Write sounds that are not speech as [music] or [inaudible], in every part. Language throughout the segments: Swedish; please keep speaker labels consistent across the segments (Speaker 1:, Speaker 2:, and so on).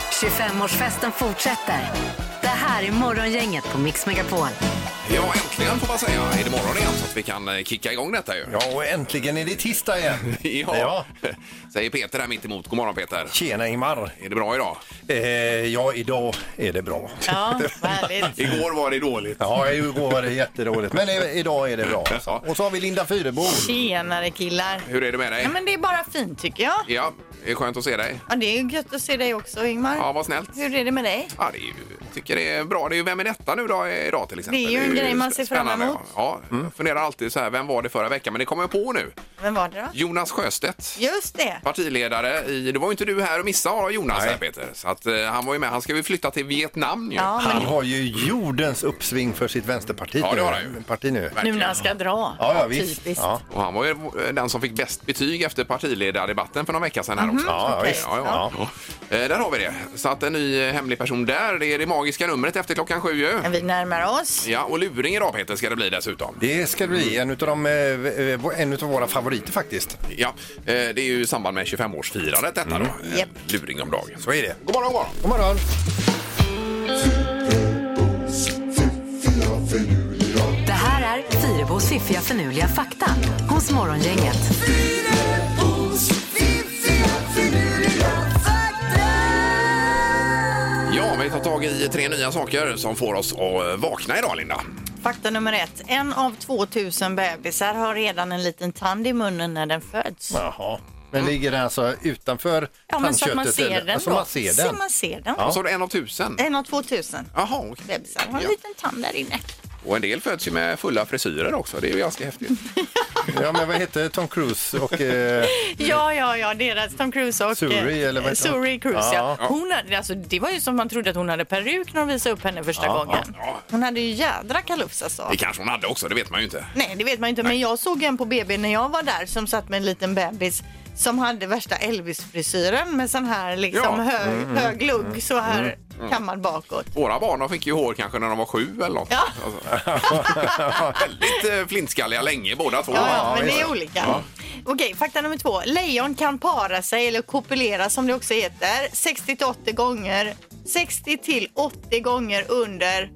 Speaker 1: 25-årsfesten fortsätter. Det här är Morgongänget på Mix Megapol.
Speaker 2: Ja, äntligen får man säga. Är det morgon igen så att vi kan eh, kicka igång detta ju?
Speaker 3: Ja, och äntligen är det tisdag igen.
Speaker 2: [laughs] Ja. [laughs] Säger Peter här mitt emot. God morgon Peter.
Speaker 3: Tjena Ingmar.
Speaker 2: Är det bra idag?
Speaker 3: Eh, ja, idag är det bra.
Speaker 4: Ja, vad härligt.
Speaker 2: Igår var det dåligt.
Speaker 3: [laughs] Ja, igår var det jätteroligt, men i- idag är det bra.
Speaker 2: Ja.
Speaker 3: Och så har vi Linda Fyrebo.
Speaker 4: Tjenare killar.
Speaker 2: Hur är det med dig?
Speaker 4: Ja, men det är bara fint tycker jag.
Speaker 2: Ja, det är skönt att se dig.
Speaker 4: Ja, det är ju gött att se dig också Ingmar.
Speaker 2: Ja, vad snällt.
Speaker 4: Hur är det med dig?
Speaker 2: Ja, det är ju, tycker det är bra. Det är ju Vem är detta nu då eh, idag till exempel?
Speaker 4: Det är ju en grej man ser fram
Speaker 2: spännande.
Speaker 4: emot.
Speaker 2: Ja,
Speaker 3: Mm.
Speaker 2: jag funderar alltid så här, vem var det förra veckan? Men det kommer jag på nu.
Speaker 4: Vem var det då?
Speaker 2: Jonas Sjöstedt.
Speaker 4: Just det.
Speaker 2: Partiledare i, det var ju inte du här och missade Jonas
Speaker 3: Nej.
Speaker 2: här Peter. Så att eh, han var ju med. Han ska ju flytta till Vietnam ju.
Speaker 4: Ja,
Speaker 3: Han har ju jordens uppsving för sitt vänsterparti
Speaker 2: Ja, det
Speaker 3: nu.
Speaker 2: har han ju.
Speaker 3: Parti nu.
Speaker 4: nu när han ska dra.
Speaker 3: Ja, ja, visst.
Speaker 4: Typiskt.
Speaker 3: Ja.
Speaker 2: Och han var ju den som fick bäst betyg efter partiledardebatten för någon vecka sedan här också.
Speaker 3: Ja,
Speaker 2: Mm-hmm. Okej,
Speaker 3: visst.
Speaker 2: ja, ja. Eh, Där har vi det. Så att en ny eh, hemlig person där. Det är det magiska numret efter klockan sju ju.
Speaker 4: Men vi närmar oss.
Speaker 2: Ja, och luring idag Peter ska det bli dessutom.
Speaker 3: Det ska det bli. En utav, de, eh, en utav våra favoriter faktiskt.
Speaker 2: Ja, eh, det är ju i samband med 25-årsfirandet detta då. Eh,
Speaker 4: Japp.
Speaker 2: Luring om dagen.
Speaker 3: Så är det.
Speaker 2: God morgon, god
Speaker 3: God morgon.
Speaker 2: morgon.
Speaker 1: Det här är Fyrabos fiffiga förnuliga fakta hos Morgongänget.
Speaker 2: Ja, vi tar tag i tre nya saker som får oss att eh, vakna idag Linda.
Speaker 4: Fakta nummer ett. En av 2000 bebisar har redan en liten tand i munnen när den föds.
Speaker 3: Jaha. Men ligger den alltså utanför
Speaker 4: Ja, men så att man
Speaker 3: tandköttet,
Speaker 4: ser
Speaker 3: eller?
Speaker 4: den
Speaker 3: Alltså,
Speaker 4: då.
Speaker 3: man ser
Speaker 4: Så
Speaker 3: den.
Speaker 4: man ser den.
Speaker 2: Ja. Eh. Så det är en av tusen.
Speaker 4: En av 2000
Speaker 2: Jaha, okej.
Speaker 4: bebisar har en
Speaker 2: Ja.
Speaker 4: liten tand där inne.
Speaker 2: Och en del föds ju med fulla frisyrer också. Det är ju ganska häftigt.
Speaker 3: Ja, men vad heter Tom Cruise och... Eh,
Speaker 4: Ja, ja, ja, deras Tom Cruise och eh,
Speaker 3: Suri, eller vad heter hon?
Speaker 4: Suri Cruise, ja.
Speaker 3: Ja.
Speaker 4: Hon hade, alltså, det var ju som man trodde att hon hade peruk när de visade upp henne första gången.
Speaker 2: ja.
Speaker 4: Hon hade ju jädra kalufs alltså.
Speaker 2: Det kanske hon hade också, det vet man ju inte.
Speaker 4: Nej, det vet man ju inte, men jag såg en på BB när jag var där som satt med en liten bebis som hade värsta Elvis-frisyren med sån här liksom
Speaker 2: Ja.
Speaker 4: hög, hög lugg så här kammad bakåt.
Speaker 2: Våra barn de fick ju hår kanske när de var sju eller något.
Speaker 4: Ja.
Speaker 2: Alltså, väldigt eh, flintskalliga länge båda två.
Speaker 4: Ja, ja, men
Speaker 3: visst.
Speaker 4: det är olika. Okej, fakta nummer två. Lejon kan para sig eller kopulera som det också heter 60 till 80 gånger 60 till 80 gånger under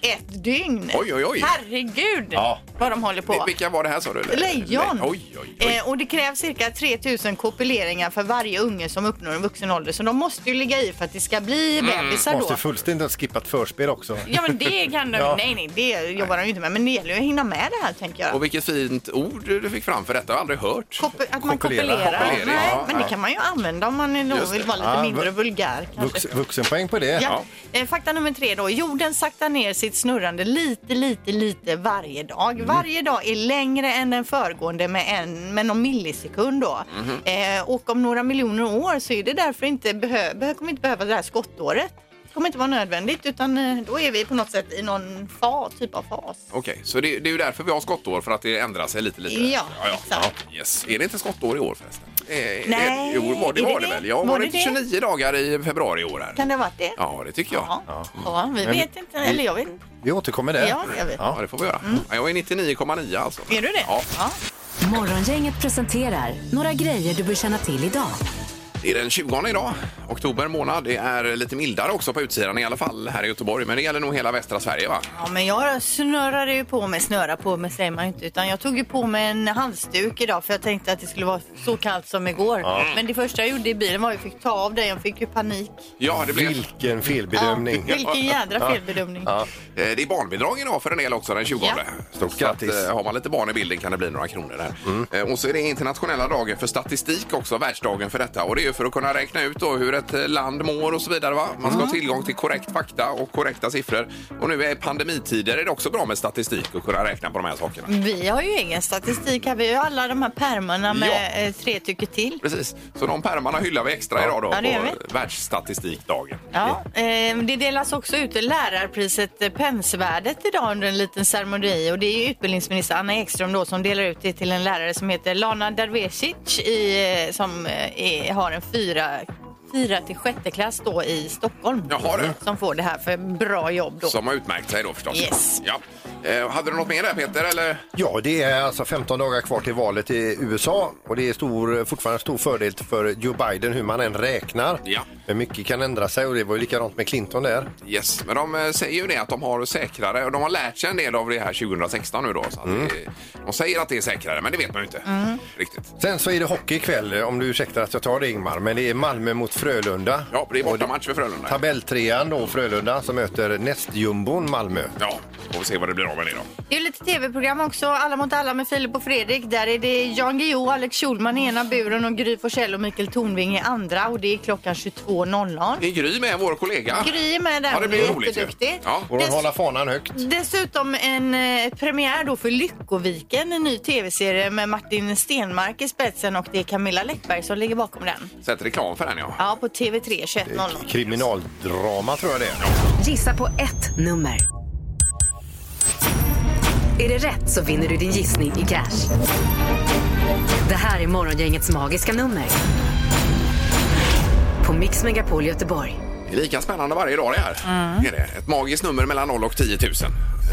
Speaker 4: ett dygn.
Speaker 2: Oj, oj, oj.
Speaker 4: Herregud
Speaker 3: Ja.
Speaker 4: vad de håller på.
Speaker 2: Vi- Vilka var det här sa du? Le-
Speaker 4: Lejon.
Speaker 2: le- Oj, oj, oj.
Speaker 4: Eh, och det krävs cirka 3000 kopuleringar för varje unge som uppnår en vuxen ålder. Så de måste ju ligga i för att det ska bli
Speaker 2: Mm,
Speaker 4: bebisar då.
Speaker 3: måste fullständigt ha skippat förspel också.
Speaker 4: Ja men det
Speaker 2: [laughs]
Speaker 4: kan de,
Speaker 3: Ja.
Speaker 4: nej nej det jobbar de ju inte med. Men det gäller ju att hinna med det här tänker jag.
Speaker 2: Och vilket fint ord du fick fram för detta har jag aldrig hört.
Speaker 4: Kopu- att man
Speaker 3: Kopulera.
Speaker 4: kopulerar.
Speaker 2: Kopulering,
Speaker 4: Nej,
Speaker 2: ja,
Speaker 4: men
Speaker 2: ja.
Speaker 4: det kan man ju använda om man då
Speaker 2: Just det.
Speaker 4: vill vara lite
Speaker 3: Ja,
Speaker 4: mindre
Speaker 3: vu-
Speaker 4: vulgär. Kanske.
Speaker 3: Vux, vuxenpoäng på det.
Speaker 4: Ja. Eh, Fakta nummer tre då. Jorden saktar ner sitt snurrande lite, lite, lite varje dag. Varje dag är längre än den föregående med, en, med någon millisekund då. Eh, och om några miljoner år så är det därför inte behö- behö- kommer inte behöva det här skottåret. Det kommer inte vara nödvändigt utan eh, då är vi på något sätt i någon fa, typ av fas.
Speaker 2: Okej, så det, det är ju därför vi har skottår, för att det ändrar sig lite. lite.
Speaker 4: Ja, exakt.
Speaker 2: Yes. Är det inte skottår i år förresten? Eh,
Speaker 4: Nej,
Speaker 2: eh, jo, var det,
Speaker 4: är det
Speaker 2: var det
Speaker 4: det?
Speaker 2: väl? Ja, var,
Speaker 4: Var
Speaker 2: det
Speaker 4: det
Speaker 2: inte
Speaker 4: det?
Speaker 2: 29 dagar i februari i år? Här?
Speaker 4: Kan det ha varit det?
Speaker 2: Ja, det tycker jag.
Speaker 4: Ja, ja vi vet inte. Eller jag vet inte.
Speaker 3: Vi återkommer där.
Speaker 4: Ja, jag vet.
Speaker 2: Ja, det får vi göra. Ja, Jag är 99,9 alltså.
Speaker 4: Mm. Är du det?
Speaker 2: Ja.
Speaker 4: ja.
Speaker 1: Morgongänget presenterar några grejer du bör känna till idag.
Speaker 2: Det är den 20 idag, oktober månad. Det är lite mildare också på utsidan i alla fall här i Göteborg. Men det gäller nog hela västra Sverige va?
Speaker 4: Ja, men jag snörade ju på mig, snöra på mig säger man ju inte, utan jag tog ju på mig en halsduk idag för jag tänkte att det skulle vara så kallt som igår. Men det första jag gjorde i bilen var att jag fick ta av den, jag fick ju panik.
Speaker 2: Ja, det blev... Eh,
Speaker 3: Vilken felbedömning.
Speaker 4: Ja, [laughs] vilken jädra felbedömning.
Speaker 2: Eh, Det är barnbidrag idag för en del också den 20.
Speaker 4: Ja.
Speaker 2: Stort
Speaker 3: grattis.
Speaker 2: eh, Har man lite barn i bilden kan det bli några kronor där. Eh, Och så är det internationella dagen för statistik också, världsdagen för detta. Och det är ju för att kunna räkna ut då hur ett eh, land mår och så vidare va? Man ska ha tillgång till korrekt fakta och korrekta siffror. Och nu är pandemitider är det också bra med statistik och kunna räkna på de här sakerna.
Speaker 4: Vi har ju egen statistik här, vi har ju alla de här pärmarna med
Speaker 2: Ja.
Speaker 4: eh, tre tycker till.
Speaker 2: Precis, så de pärmarna hyllar vi extra idag då
Speaker 4: Ja, det gör
Speaker 2: på världsstatistikdagen.
Speaker 4: Ja, eh, det delas också ut lärarpriset eh, Pensvärdet idag under en liten ceremoni och det är ju utbildningsminister Anna Ekström då som delar ut det till en lärare som heter Lana Darvesic i, eh, som eh, är, har en fyra fyra till sjätte klass då i Stockholm
Speaker 2: Jaha, du.
Speaker 4: som får det här för bra jobb då.
Speaker 2: Som har utmärkt sig då förstås.
Speaker 4: Yes.
Speaker 2: Ja. Eh, hade du något mer där Peter? Eller?
Speaker 3: Ja, det är alltså 15 dagar kvar till valet i USA och det är stor, fortfarande stor fördel för Joe Biden hur man än räknar.
Speaker 2: Ja.
Speaker 3: Men mycket kan ändra sig och det var ju likadant med Clinton där.
Speaker 2: Yes, men de eh, säger ju det att de har säkrare och de har lärt sig en del av det här 2016 nu då. Så att det, de säger att det är säkrare, men det vet man ju inte riktigt.
Speaker 3: Sen så är det hockey ikväll, om du ursäktar att jag tar det Ingmar, men det är Malmö mot Frölunda.
Speaker 2: Ja, det är
Speaker 3: Och
Speaker 2: bortamatch för Frölunda.
Speaker 3: Tabelltrean då, Frölunda, som möter nästjumbon Malmö.
Speaker 2: Ja, får vi se vad det blir av med det då.
Speaker 4: Det är ju lite tv-program också, Alla mot alla med Filip och Fredrik. Där är det Jan Guillou, Alex Schulman i ena buren och Gry Forssell och Mikael Tornving i andra. Och det är klockan 22.00.
Speaker 2: Det är Gry med, vår kollega.
Speaker 4: Gry är med där,
Speaker 2: Ja, det
Speaker 4: hon
Speaker 2: blir
Speaker 4: är
Speaker 2: roligt ju.
Speaker 4: jätteduktig.
Speaker 2: Ja.
Speaker 3: Får de
Speaker 4: Dess-
Speaker 3: hålla fanan högt?
Speaker 4: Dessutom en eh, premiär då för Lyckoviken, en ny tv-serie med Martin Stenmark i spetsen och det är Camilla Läckberg som ligger bakom den.
Speaker 2: Sätter reklam för den ja.
Speaker 4: Ja, på TV3 21.00.
Speaker 3: Kriminaldrama tror jag det är.
Speaker 1: Gissa på ett nummer. Är det rätt så vinner du din gissning i cash. Det här är Morgongängets magiska nummer. På Mix Megapol Göteborg.
Speaker 2: Det är lika spännande varje dag det här. Är det. Ett magiskt nummer mellan 0 och 10 000.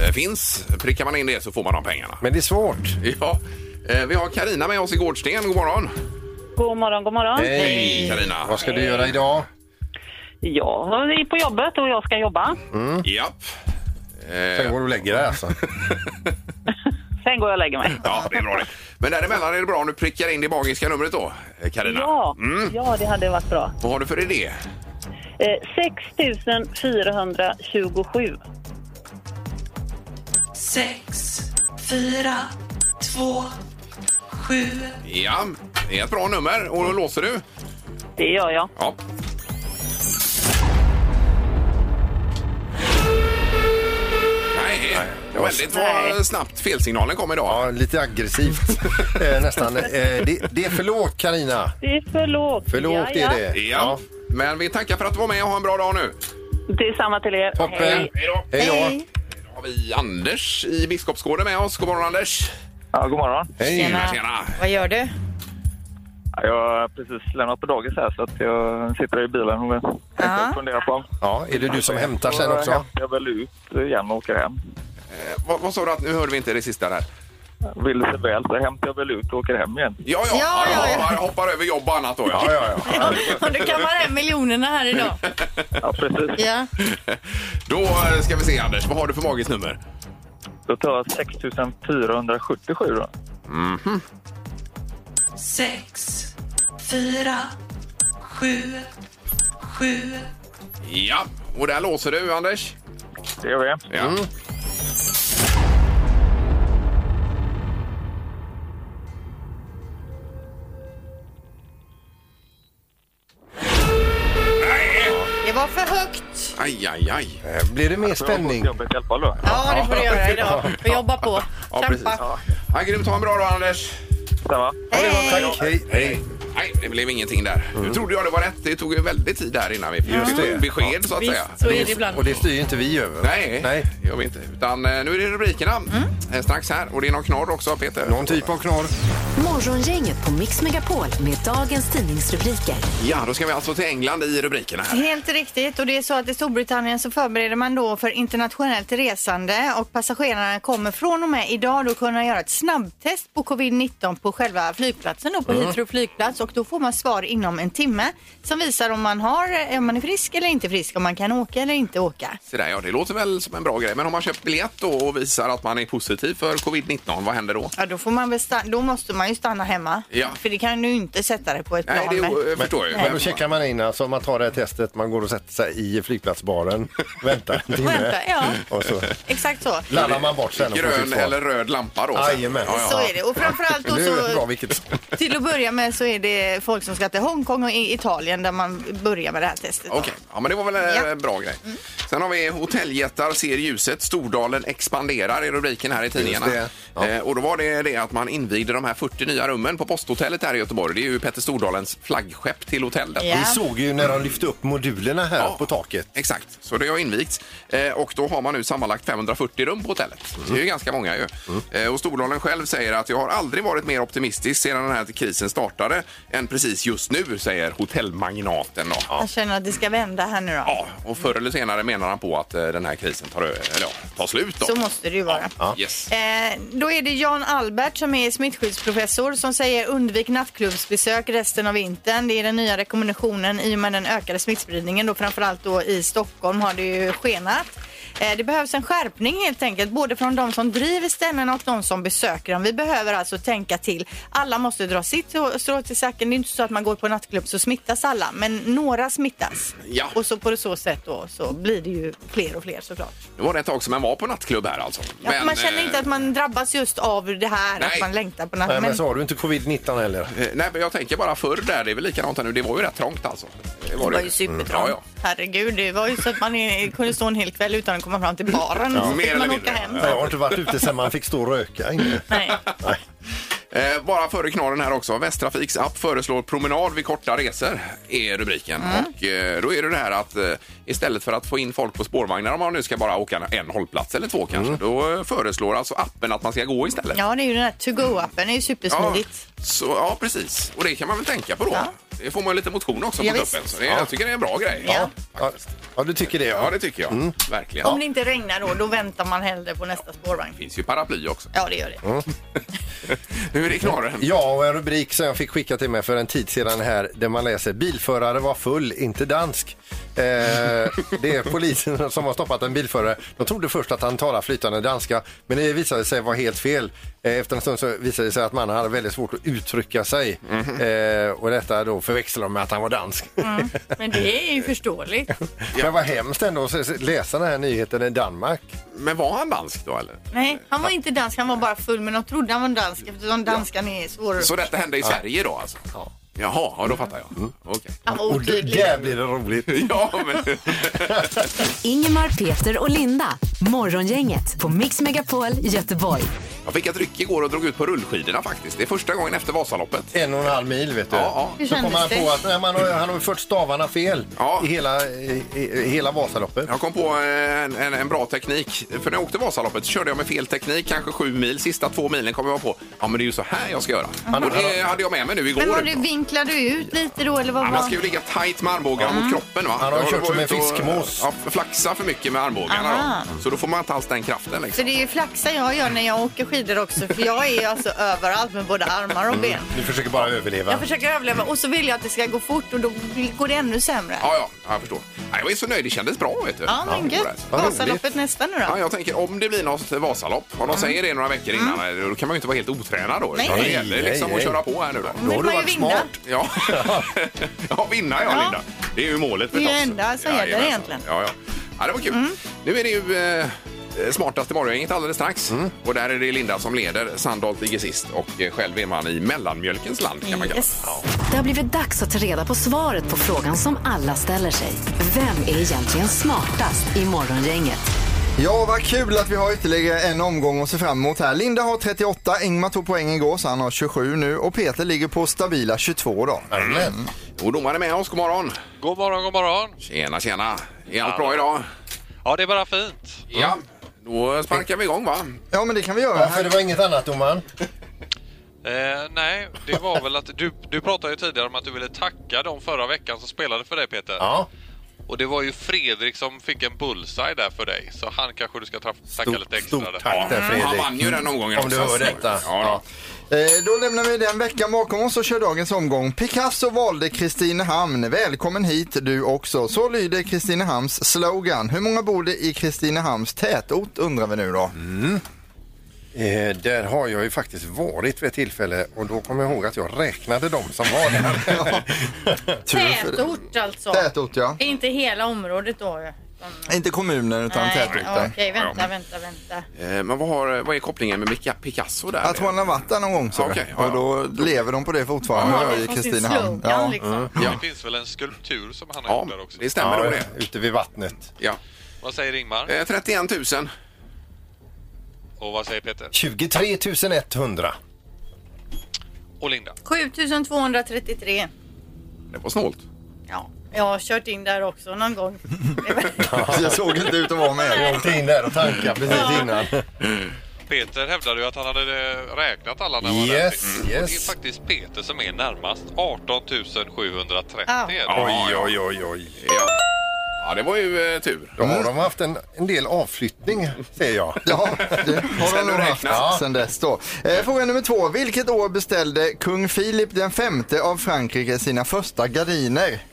Speaker 2: Eh, Finns, prickar man in det så får man de pengarna.
Speaker 3: Men det är svårt.
Speaker 2: Ja, eh, vi har Karina med oss i Gårdsten. God morgon!
Speaker 5: God morgon, god morgon.
Speaker 2: Hej Karina!
Speaker 3: Vad ska du göra idag?
Speaker 5: Jag är på jobbet och jag ska jobba.
Speaker 2: Japp.
Speaker 3: Sen går du och lägger dig alltså.
Speaker 5: Sen går jag och lägger mig.
Speaker 2: Ja, det är bra det. Men däremellan är det bra om du prickar in det magiska numret då, eh, Karina.
Speaker 5: Ja,
Speaker 2: Mm.
Speaker 5: ja det hade varit bra.
Speaker 2: Vad har du för idé?
Speaker 5: Eh, 6 427.
Speaker 6: sex, fyra, två, sju.
Speaker 2: Ja, det är ett bra nummer. Och då låser du?
Speaker 5: Det gör jag.
Speaker 2: Ja. Nej, det var väldigt vad snabbt felsignalen kom idag.
Speaker 3: Ja, lite aggressivt eh, nästan. Eh, det, det är för lågt Carina.
Speaker 5: Det är för lågt.
Speaker 3: För lågt
Speaker 5: Ja,
Speaker 3: är det.
Speaker 2: Ja, men vi tackar för att du var med och ha en bra dag nu.
Speaker 5: ja. Det är samma till er.
Speaker 3: Toppen.
Speaker 5: Hej.
Speaker 2: Hej då!
Speaker 3: Hej då.
Speaker 4: Hej.
Speaker 2: Då har vi Anders i Biskopsgården med oss. God morgon Anders!
Speaker 7: Ja, god morgon.
Speaker 3: Hej.
Speaker 2: Tjena, tjena.
Speaker 4: Vad gör du?
Speaker 7: Ja, Jag har precis lämnat på dagis här så att jag sitter i bilen och
Speaker 4: Ja.
Speaker 7: [laughs] funderar på om
Speaker 3: Ja, är det du som hämtar sen
Speaker 7: Då
Speaker 3: också?
Speaker 7: hämtar jag väl ut igen och åker hem.
Speaker 2: Eh, Vad, vad sa du att, nu hörde vi inte det sista där.
Speaker 7: Vill det sig väl så hämtar jag väl ut och åker hem igen.
Speaker 2: Ja, ja,
Speaker 4: Ja, ja, ja.
Speaker 2: Jag hoppar, hoppar över jobb och annat då. Ja.
Speaker 3: Ja, ja, ja.
Speaker 4: Och du kammar hem miljonerna här idag.
Speaker 7: Ja, precis.
Speaker 4: Ja.
Speaker 2: Då eh, ska vi se Anders, vad har du för magiskt nummer?
Speaker 7: Då tar jag 6477 då.
Speaker 6: Sex, fyra, sju, sju.
Speaker 2: Ja, och där låser du Anders.
Speaker 7: Det gör vi.
Speaker 2: Ja.
Speaker 4: Det var för högt.
Speaker 2: Aj, aj, aj.
Speaker 3: Eh, Blir det mer spänning?
Speaker 7: Jag jobbet i alla fall då.
Speaker 4: Ja, det får du göra idag. Får jobba på.
Speaker 2: Ja, precis.
Speaker 4: Kämpa.
Speaker 2: Ja, grymt, ha en bra dag Anders.
Speaker 7: Samma.
Speaker 4: Hej.
Speaker 3: Hej. Hej. Mm.
Speaker 2: Nej, det blev ingenting där. Nu trodde jag det var rätt. Det tog ju väldigt tid här innan vi fick
Speaker 3: Just det.
Speaker 2: besked så att säga.
Speaker 6: Visst, så är det ibland.
Speaker 3: Och det styr ju inte vi över.
Speaker 2: Nej,
Speaker 3: Nej.
Speaker 2: det gör vi inte. Utan eh, nu är det rubrikerna eh, strax här. Och det är någon knorr också, Peter.
Speaker 3: Någon typ av knorr.
Speaker 1: Morgongänget på Mix Megapol med dagens tidningsrubriker.
Speaker 2: Ja, då ska vi alltså till England i rubrikerna här.
Speaker 4: Helt riktigt. Och det är så att i Storbritannien så förbereder man då för internationellt resande och passagerarna kommer från och med idag då kunna göra ett snabbtest på covid-19 på själva flygplatsen då på Heathrow flygplats och då får man svar inom en timme som visar om man, har, om man är frisk eller inte frisk, om man kan åka eller inte åka.
Speaker 2: Så där, ja, det låter väl som en bra grej. Men om man köpt biljett då och visar att man är positiv för covid-19, vad händer då?
Speaker 4: Ja, då, får man väl stanna, då måste man ju stanna hemma.
Speaker 2: Ja.
Speaker 4: För det kan du ju inte sätta dig på ett
Speaker 2: Nej,
Speaker 4: plan
Speaker 2: det
Speaker 4: med.
Speaker 2: eh, förstår jag ju.
Speaker 3: Men då checkar man in, alltså man tar det här testet, man går och sätter sig i flygplatsbaren, väntar en timme
Speaker 4: Vänta, ja.
Speaker 3: och så
Speaker 4: Exakt så.
Speaker 3: laddar man bort sen. och får sitt
Speaker 2: Grön
Speaker 3: svar.
Speaker 2: eller röd lampa då?
Speaker 3: Jajamän.
Speaker 2: Ja,
Speaker 4: Så
Speaker 2: ja.
Speaker 4: är det. Och framförallt
Speaker 2: [laughs]
Speaker 4: då
Speaker 3: Det är ju bra
Speaker 4: så,
Speaker 3: vilket...
Speaker 4: till att börja med så är det folk som ska till Hongkong och i- Italien där man börjar med det här testet.
Speaker 2: Okej, ja, men det var väl en
Speaker 4: Ja. Mm.
Speaker 2: bra grej. Sen har vi hotelljättar ser ljuset. Stordalen expanderar i rubriken här i tidningarna.
Speaker 3: det, ja.
Speaker 2: Eh, och då var det det att man invigde de här 40 nya rummen på posthotellet här i Göteborg. Det är ju Petter Stordalens flaggskepp till hotellet.
Speaker 4: Ja.
Speaker 3: Vi såg ju när de lyfte upp modulerna här på taket.
Speaker 2: Exakt, så det har invigts. Eh, och då har man nu sammanlagt 540 rum på hotellet.
Speaker 3: Mm.
Speaker 2: Det är ju ganska många ju. Eh, och Stordalen själv säger att jag har aldrig varit mer optimistisk sedan den här krisen startade. än precis just nu, säger hotellmagnaten. Då. Ja.
Speaker 4: Jag känner att det ska vända här nu då.
Speaker 2: och förr eller senare menar han på att eh, den här krisen tar, ö- eller, ja, tar slut. Då.
Speaker 4: Så måste det ju vara.
Speaker 2: ja. yes.
Speaker 4: Eh, då är det Jan Albert som är smittskyddsprofessor som säger undvik nattklubbsbesök resten av vintern. Det är den nya rekommendationen i och med den ökade smittspridningen. Då framförallt då i Stockholm har det ju skenat. Eh, Det behövs en skärpning helt enkelt, både från de som driver ställen och de som besöker dem. Vi behöver alltså tänka till. Alla måste dra sitt strå till stacken. Det är inte så att man går på nattklubb så smittas alla, men några smittas.
Speaker 2: Ja.
Speaker 4: Och så på så sätt då så blir det ju fler och fler såklart.
Speaker 2: Det var det ett tag som man var på nattklubb här alltså.
Speaker 4: Ja, man känner
Speaker 2: eh,
Speaker 4: inte att man drabbas just av det här,
Speaker 2: nej.
Speaker 4: att man längtar på
Speaker 3: Nej,
Speaker 4: natten.
Speaker 3: men
Speaker 4: Men
Speaker 3: så har du inte covid-19 heller.
Speaker 2: eh, Nej, men jag tänker bara förr där, det är väl likadant här nu. Det var ju rätt trångt alltså. Det
Speaker 4: det var ju supertrångt.
Speaker 2: Ja, Mm. ja.
Speaker 4: Herregud, det var ju så att man eh, kunde stå en hel kväll utan att komma fram till baren. så
Speaker 2: mer
Speaker 4: fick
Speaker 2: eller
Speaker 4: man
Speaker 2: mindre.
Speaker 4: åka hem.
Speaker 3: Jag har inte varit ute sedan man fick stå och röka inne.
Speaker 4: Nej.
Speaker 3: Nej.
Speaker 2: Eh, bara före knorren här också. Västtrafiks app föreslår promenad vid korta resor, är rubriken.
Speaker 4: Mm.
Speaker 2: Och eh, då är det det här att eh, istället för att få in folk på spårvagnar om man nu ska bara åka en hållplats eller två kanske, då eh, föreslår alltså appen att man ska gå istället.
Speaker 4: Ja, det är ju den här to-go-appen, det är ju supersmidigt.
Speaker 2: så, ja, precis. Och det kan man väl tänka på då.
Speaker 4: Ja.
Speaker 2: Det får man ju lite motion också
Speaker 4: Ja,
Speaker 2: på
Speaker 4: visst.
Speaker 2: tuppen. Så det, jag tycker det är en bra grej.
Speaker 4: Ja. Mm.
Speaker 3: Ja, ja, du tycker det?
Speaker 2: Ja,
Speaker 3: Ja.
Speaker 2: det tycker jag. Verkligen.
Speaker 4: Om
Speaker 2: Det
Speaker 4: det inte regnar då, då väntar man hellre på nästa spårvagn.
Speaker 2: finns ju paraply också.
Speaker 4: Ja, det gör det.
Speaker 2: Mm. Nu är det knorren.
Speaker 3: Ja, och en rubrik som jag fick skicka till mig för en tid sedan här där man läser bilförare var full, inte dansk. Eh, det är polisen [laughs] som har stoppat en bilförare. De trodde först att han talade flytande danska, men det visade sig vara helt fel. Eh, Efter en stund så visade det sig att mannen hade väldigt svårt att uttrycka sig. Eh, och detta då förväxlade de med att han var dansk.
Speaker 4: Men det är ju förståeligt.
Speaker 3: [laughs] Men vad hemskt ändå att läsa den här nyheten i Danmark.
Speaker 2: Men var han dansk då eller?
Speaker 4: Nej, han var inte dansk, han var bara full, men de trodde han var dansk eftersom danskan är svår.
Speaker 2: Så detta hände i Sverige då alltså?
Speaker 3: Ja.
Speaker 2: Jaha, ja, då fattar jag.
Speaker 4: Mm.
Speaker 2: Okej. [laughs]
Speaker 4: Han var
Speaker 3: Och det,
Speaker 4: otydlig.
Speaker 3: där blir det roligt.
Speaker 2: Ja, men...
Speaker 1: Ingemar, Peter och Linda. Morgongänget på Mix Megapol Göteborg.
Speaker 2: Jag fick ett ryck igår och drog ut på rullskidorna faktiskt. Det är första gången efter Vasaloppet.
Speaker 3: En och en halv mil vet du.
Speaker 2: Ja,
Speaker 4: Hur
Speaker 3: Så kom
Speaker 4: kändes
Speaker 3: han
Speaker 4: det?
Speaker 3: på att nej, man har, han har ju fört stavarna fel
Speaker 2: Ja.
Speaker 3: i hela, i, i, hela Vasaloppet.
Speaker 2: Jag kom på eh, en, en, en bra teknik. För när jag åkte Vasaloppet så körde jag med fel teknik, kanske sju mil. Sista två milen kom jag på, ja men det är ju så här jag ska göra. Och det hade jag med mig nu igår.
Speaker 4: Men var det vinklade du ut lite då eller
Speaker 2: Ja,
Speaker 4: vad
Speaker 2: man
Speaker 4: var
Speaker 2: ska ju ligga tajt med armbågarna mot kroppen. Va?
Speaker 3: Mm. Han har
Speaker 2: Jag
Speaker 3: kört
Speaker 2: var
Speaker 3: som en
Speaker 2: ute och,
Speaker 3: fiskmås.
Speaker 2: Ja, flaxa för mycket med armbågarna.
Speaker 4: Aha.
Speaker 2: Då. Så då får man inte alls den kraften.
Speaker 4: Så
Speaker 2: Liksom.
Speaker 4: det är ju flaxa jag gör när jag åker skidor också för jag är ju alltså överallt med både armar och ben.
Speaker 3: Du försöker bara överleva.
Speaker 4: Jag försöker överleva och så vill jag att det ska gå fort och då går det ännu sämre.
Speaker 2: Ja, ja, jag förstår. Nej, jag är så nöjd, det kändes bra. Vet du.
Speaker 4: Ja, men
Speaker 2: det var det.
Speaker 4: gött.
Speaker 3: Vad roligt.
Speaker 4: Vasaloppet nästa nu
Speaker 2: Ja,
Speaker 4: då.
Speaker 2: jag tänker om det blir något Vasalopp, om de säger det några veckor innan, då kan man ju inte vara helt otränad då.
Speaker 4: Nej.
Speaker 2: Utan Det gäller
Speaker 3: Mm. Nej,
Speaker 2: liksom
Speaker 3: nej, nej.
Speaker 2: att köra på här nu då.
Speaker 4: Då vill
Speaker 3: du
Speaker 4: man ju
Speaker 3: varit
Speaker 4: vinna.
Speaker 3: smart.
Speaker 2: Ja, ja vinna ja,
Speaker 4: Ja.
Speaker 2: Linda. Det är ju målet
Speaker 4: Det är ju
Speaker 2: förstås.
Speaker 4: enda som gäller
Speaker 2: Jajamensan.
Speaker 4: egentligen.
Speaker 2: Ja, ja. ja, det var kul. Nu är det ju eh, smartaste morgongänget alldeles strax. Och där är det Linda som leder. Sandholt ligger sist och eh, själv är man i mellanmjölkens land kan man kalla det.
Speaker 4: Yes.
Speaker 2: Ja.
Speaker 1: Det har blivit dags att ta reda på svaret på frågan som alla ställer sig. Vem är egentligen smartast i Morgongänget?
Speaker 8: Ja, vad kul att vi har ytterligare en omgång att se fram emot här. Linda har 38, Ingmar tog poäng igår så han har 27 nu och Peter ligger på stabila 22 då.
Speaker 3: Amen.
Speaker 2: Och domaren är med oss. God morgon!
Speaker 9: God morgon, god morgon.
Speaker 2: Tjena, tjena! Är allt bra idag?
Speaker 9: Ja, det är bara fint.
Speaker 2: Ja. Då sparkar vi igång va?
Speaker 8: Ja, men det kan vi göra.
Speaker 3: Varför det var inget annat domaren?
Speaker 9: Eh, nej, det var väl att du, du pratade ju tidigare om att du ville tacka de förra veckan som spelade för dig Peter.
Speaker 3: Ja.
Speaker 9: Och det var ju Fredrik som fick en bullseye där för dig. Så han kanske du ska tra- tacka lite extra
Speaker 3: stort
Speaker 9: där.
Speaker 3: tack där
Speaker 2: Han vann
Speaker 3: Fredrik.
Speaker 2: ju den omgången
Speaker 3: Om du
Speaker 2: också.
Speaker 3: hör detta.
Speaker 2: Ja, då.
Speaker 8: Eh, Då lämnar vi den veckan bakom oss och kör dagens omgång. Picasso valde Kristinehamn. Välkommen hit du också. Så lyder Kristinehamns slogan. Hur många bor det i Kristinehamns tätort undrar vi nu
Speaker 4: Mm.
Speaker 8: då.
Speaker 3: Eh, där har jag ju faktiskt varit vid ett tillfälle och då kommer jag ihåg att jag räknade dem som var
Speaker 2: [laughs]
Speaker 3: där.
Speaker 4: Tätort alltså.
Speaker 8: Tätort ja.
Speaker 4: Det är inte hela området då ju.
Speaker 8: Inte kommunen utan
Speaker 4: Nej,
Speaker 8: tätorten.
Speaker 4: Okej, vänta, vänta, vänta.
Speaker 2: Eh, Men vad, har, vad är kopplingen med Mika Picasso där?
Speaker 8: Jag tror han har varit där någon gång så.
Speaker 2: Okej, ja, ja.
Speaker 8: Och då lever de på det fortfarande
Speaker 4: Ja,
Speaker 8: ja,
Speaker 4: det
Speaker 8: i
Speaker 4: är som sin
Speaker 8: Kristinehamn.
Speaker 4: slogan,
Speaker 8: Ja.
Speaker 4: liksom.
Speaker 2: Ja.
Speaker 9: Det finns väl en skulptur som han har
Speaker 2: Ja,
Speaker 9: gjort där också?
Speaker 2: det stämmer nog
Speaker 3: ja,
Speaker 2: det.
Speaker 3: ute vid vattnet.
Speaker 2: Ja.
Speaker 9: Vad säger Ingmar?
Speaker 2: Eh, 31 000.
Speaker 9: Och vad säger Peter?
Speaker 3: 23 100.
Speaker 9: Och Linda?
Speaker 4: 7233.
Speaker 2: Det var snålt.
Speaker 4: Ja, jag har kört in där också någon gång.
Speaker 8: Jag såg inte ut att vara med.
Speaker 3: Jag åkte in där och tankade precis innan.
Speaker 9: Peter hävdade ju att han hade eh, räknat alla när han var
Speaker 3: Yes,
Speaker 9: där. Och det
Speaker 3: yes.
Speaker 9: är faktiskt Peter som är närmast. 18 730
Speaker 4: Ah.
Speaker 9: är det.
Speaker 3: Oj, oj, oj, oj.
Speaker 2: Ja. ja, det var ju eh, tur.
Speaker 3: Då har de haft en, en del avflyttning, säger jag.
Speaker 8: Ja, det har
Speaker 2: Sen
Speaker 8: han
Speaker 2: du
Speaker 8: nog haft
Speaker 2: räknat.
Speaker 8: ja. sen dess då. Eh, fråga nummer två. Vilket år beställde kung Filip den femte av Frankrike sina första gardiner?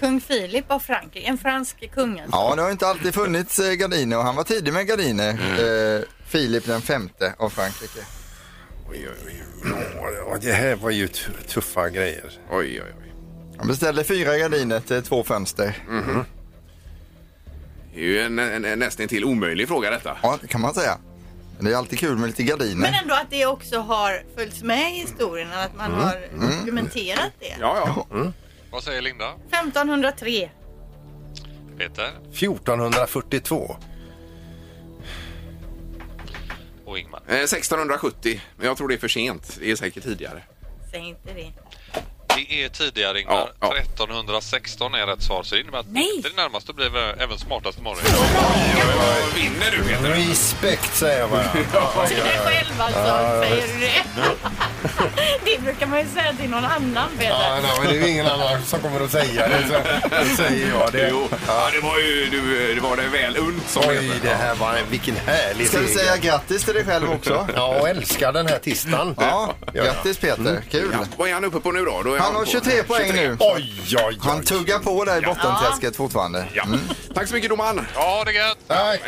Speaker 4: Kung Filip av Frankrike, en fransk kungen.
Speaker 8: Ja, det har inte alltid funnits eh, gardiner och han var tidig med gardiner.
Speaker 2: Mm.
Speaker 8: Eh, Filip den femte av Frankrike.
Speaker 2: Oj, oj, oj.
Speaker 3: Ja, Det här var ju t- tuffa grejer.
Speaker 2: oj, oj, oj.
Speaker 8: Han beställde fyra gardiner till två fönster.
Speaker 2: Mm. Det är ju en, en, en nästan till omöjlig fråga detta.
Speaker 8: Ja, det kan man säga. Men det är alltid kul med lite
Speaker 4: Men
Speaker 8: gardiner.
Speaker 4: ändå att det också har följts med i historien, att man har dokumenterat det.
Speaker 2: Ja, ja.
Speaker 9: Vad säger Linda?
Speaker 4: 1503.
Speaker 9: Peter
Speaker 3: 1442.
Speaker 9: och Ingmar?
Speaker 2: Eh, 1670. Men jag tror det är för sent. Det är säkert tidigare.
Speaker 4: Säg inte det.
Speaker 9: Det är tidigare Ingmar.
Speaker 2: Ja, ja.
Speaker 9: 1316 är rätt svar. Så det innebär att
Speaker 6: Nej.
Speaker 9: Peter är närmast och blir väl även smartast imorgon.
Speaker 2: Vinner du, Peter?
Speaker 3: Respekt, säger jag bara.
Speaker 4: Till dig själv alltså, säger du det? [laughs] det brukar man ju säga till någon annan
Speaker 3: Ja,
Speaker 4: Peter.
Speaker 3: nej, men det är ju ingen annan som kommer att säga det. Så, det säger jag det.
Speaker 2: Jo, ja, det var ju du, det var det väl unt som
Speaker 3: Oj,
Speaker 2: heter.
Speaker 3: det här var en, vilken härlig
Speaker 8: Ska du
Speaker 3: seger.
Speaker 8: säga grattis till dig själv
Speaker 2: [laughs]
Speaker 8: också?
Speaker 3: Ja, och älskar den här tisdagen.
Speaker 8: Ja, grattis Peter. Kul.
Speaker 2: Mm. Ja, vad är han uppe på nu då? då är
Speaker 8: Han har
Speaker 2: på
Speaker 8: 23 poäng nu.
Speaker 3: Oj, oj, oj.
Speaker 8: Han tuggar på där i bottenträsket fortfarande. Mm.
Speaker 2: Ja. Tack så mycket domaren.
Speaker 9: Ja, det är gött!
Speaker 3: Tack.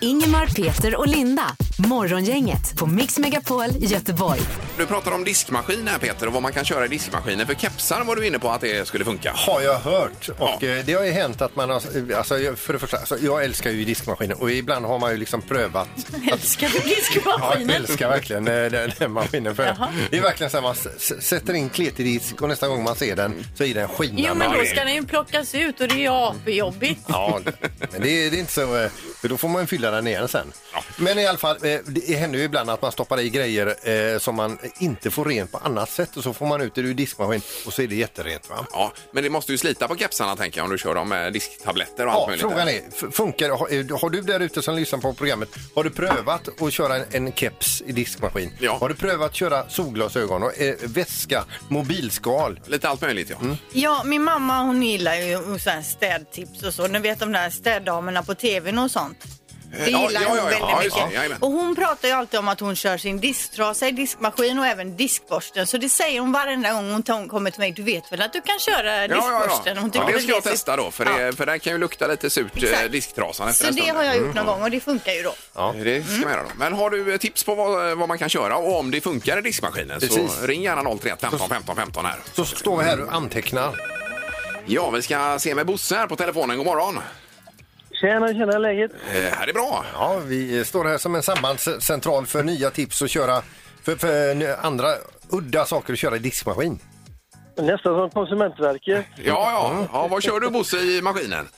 Speaker 1: Ingemar, Peter och Linda. Morgongänget på Mix Megapol Göteborg.
Speaker 2: Du pratar om diskmaskin här Peter och vad man kan köra i diskmaskinen. För kepsar var du inne på att det skulle funka.
Speaker 3: Har jag hört. Och eh, det har ju hänt att man har... Alltså, jag- för det första, alltså, jag älskar ju diskmaskiner och ibland har man ju liksom prövat.
Speaker 4: [laughs] Älskar du
Speaker 3: Ja, jag
Speaker 4: diskmaskinen?
Speaker 3: älskar verkligen eh, den, den maskinen. För det är verkligen så här, man s- s- sätter in kletig disk och nästa gång man ser den så är den skinande.
Speaker 4: Jo men då ska den ju plockas ut och det är ju apjobbigt.
Speaker 3: Ja, men det är, det är inte så... eh, För då får man fylla den igen sen. Men i alla fall, eh, det händer ju ibland att man stoppar i grejer eh, som man inte får rent på annat sätt och så får man ut det ur diskmaskin och så är det jätterent. Va?
Speaker 2: Ja, men det måste ju slita på kepsarna tänker jag om du kör dem med disktabletter och allt
Speaker 3: Ja,
Speaker 2: möjligt.
Speaker 3: frågan är, f- funkar det? Har- Har du där ute som lyssnar på programmet, har du prövat att köra en, en keps i diskmaskin?
Speaker 2: Ja.
Speaker 3: Har du prövat att köra solglasögon, och, eh, väska, mobilskal?
Speaker 2: Lite allt möjligt ja.
Speaker 4: Ja, min mamma hon gillar ju eh, så här städtips och så. Ni vet de där städdamerna på tvn och sånt. Det
Speaker 2: Eh, ja,
Speaker 4: gillar
Speaker 2: ja,
Speaker 4: hon
Speaker 2: ja, ja,
Speaker 4: väldigt
Speaker 2: ja, just det.
Speaker 4: mycket.
Speaker 2: Jajamän.
Speaker 4: och hon pratar ju alltid om att hon kör sin disktrasa i diskmaskin och även diskborsten. Så det säger hon varenda gång hon, tar- hon kommer till mig. Du vet väl att du kan köra diskborsten? Hon tycker
Speaker 2: Ja, det
Speaker 4: väl
Speaker 2: ska jag
Speaker 4: är så-
Speaker 2: testa då, för, det, för där kan ju lukta lite surt eh,
Speaker 4: Exakt.
Speaker 2: disktrasan efter
Speaker 4: Så
Speaker 2: en
Speaker 4: det
Speaker 2: stund.
Speaker 4: har jag gjort någon gång och det funkar ju då.
Speaker 2: Ja. Det ska man göra då. Men har du eh, tips på vad, vad man kan köra och om det funkar i diskmaskinen
Speaker 3: Precis.
Speaker 2: så ring gärna 031 15 15 15 här.
Speaker 3: Så står vi här och antecknar.
Speaker 2: Ja, vi ska se med Bosse här på telefonen. God morgon!
Speaker 7: Tjena, tjena, läget?
Speaker 2: Eh, här är bra!
Speaker 3: Ja, vi eh, står här som en sambandscentral för nya tips och köra för, för n- andra udda saker att köra i diskmaskin.
Speaker 7: Nästan som Konsumentverket.
Speaker 2: Ja, ja. ja vad kör du Bosse i maskinen?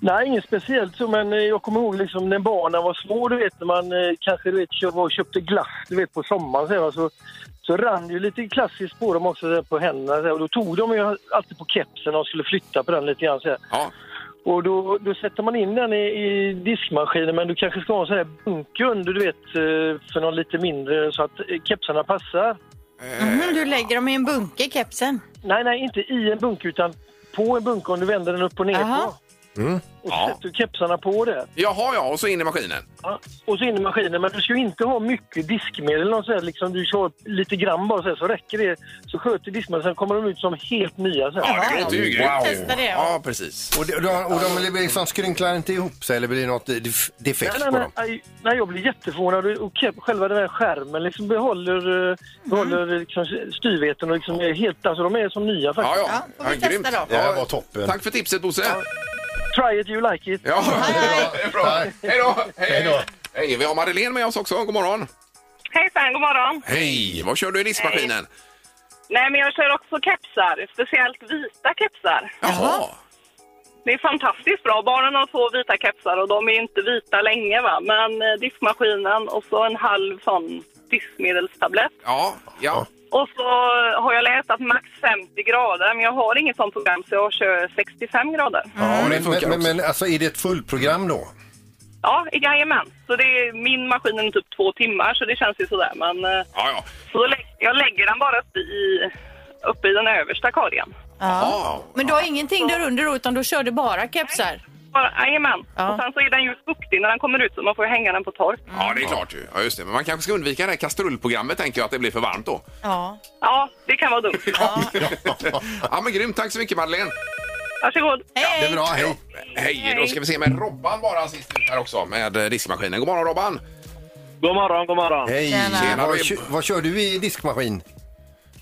Speaker 7: Nej, inget speciellt så, men eh, jag kommer ihåg liksom när barnen var små, du vet, när man eh, kanske du vet, kö- var och köpte glass, du vet, på sommaren så, här, va, så, så rann det ju lite klassiskt på dem också så här, på händerna så, här, och då tog de ju alltid på kepsen och skulle flytta på den lite grann så här.
Speaker 2: Ja,
Speaker 7: Och då, då sätter man in den i, i diskmaskinen men du kanske ska ha en sån här bunke under, du vet, eh, för någon lite mindre så att eh, kepsarna passar.
Speaker 4: Mhm, du lägger dem i en bunke, kepsen.
Speaker 7: Nej, nej, inte i en bunke utan på en bunke om du vänder den upp och ner
Speaker 4: Aha.
Speaker 7: på. Och så
Speaker 2: Mm. Ja.
Speaker 7: sätter du kepsarna på det.
Speaker 2: jaha ja, och så in i maskinen.
Speaker 7: Ja, och så in i maskinen. Men du ska ju inte ha mycket diskmedel. Något sådär, liksom, du kör lite grann bara så, här, så räcker det. Så sköter diskmedel. Sen kommer de ut som helt nya. Så här.
Speaker 2: Ja, det låter ju grymt.
Speaker 3: Wow.
Speaker 4: Testa det.
Speaker 2: Ja, precis.
Speaker 3: Och de, och de, och de liksom skrynklar inte ihop sig eller blir något eh, def- defekt
Speaker 7: Nej,
Speaker 3: på
Speaker 7: nej,
Speaker 3: dem.
Speaker 7: nej, nej, jag blir jätteförvånad. Och kep- själva den här skärmen liksom behåller, eh,
Speaker 2: Mm.
Speaker 7: behåller liksom styvheten och liksom är helt... Alltså de är som nya faktiskt.
Speaker 2: Ja, ja.
Speaker 4: Ja, får vi testa då.
Speaker 3: Det här var toppen.
Speaker 2: Tack för tipset Bosse!
Speaker 7: Try it, you like it.
Speaker 2: Ja,
Speaker 3: hej.
Speaker 2: det är bra.
Speaker 3: Tack.
Speaker 2: Hej då!
Speaker 3: Hej då.
Speaker 2: Hej, vi har Madeleine med oss också. God morgon!
Speaker 5: Hejsan, god morgon.
Speaker 2: Hej! Vad kör du i diskmaskinen?
Speaker 5: Nej, men jag kör också kepsar, speciellt vita kepsar.
Speaker 2: Jaha!
Speaker 5: Det är fantastiskt bra. Barnen har två vita kepsar och de är ju inte vita länge, va? men eh, diskmaskinen och så en halv sån diskmedelstablett.
Speaker 2: Ja, ja.
Speaker 5: Och så har jag läst att max 50 grader, men jag har inget sånt program så jag kör 65 grader.
Speaker 2: ja det
Speaker 3: Men,
Speaker 2: funkar
Speaker 3: Mm. men,
Speaker 2: också.
Speaker 3: men alltså, är det ett fullprogram då?
Speaker 5: Ja, jajamän. Så det är, min maskin är typ två timmar, så det känns ju sådär. Men eh,
Speaker 2: Ja, ja.
Speaker 5: så lä- jag lägger den bara uppe i, uppe i den översta kardian.
Speaker 2: Ja.
Speaker 4: Men du har ingenting där under då, utan då kör du bara kepsar?
Speaker 5: Bara- Jajamän.
Speaker 4: Ja.
Speaker 5: Och sen så är den ju fuktig när den kommer ut, så man får ju hänga den på tork.
Speaker 2: ja, det är klart ju. Ja, just det. Men man kanske ska undvika det här kastrullprogrammet, tänker jag, att det blir för varmt då.
Speaker 4: Ja.
Speaker 5: Ja, det kan vara dumt.
Speaker 2: Ja, men grymt. Tack så mycket, Madeleine.
Speaker 5: Varsågod.
Speaker 3: Det är
Speaker 4: Hej!
Speaker 3: bra, hej.
Speaker 2: Hej, då ska vi se med Robban bara sist ut här också med eh, diskmaskinen. God morgon Robban!
Speaker 7: God morgon, god morgon.
Speaker 3: Hej.
Speaker 2: Tjena.
Speaker 3: Vad, kö- vad kör du i diskmaskin?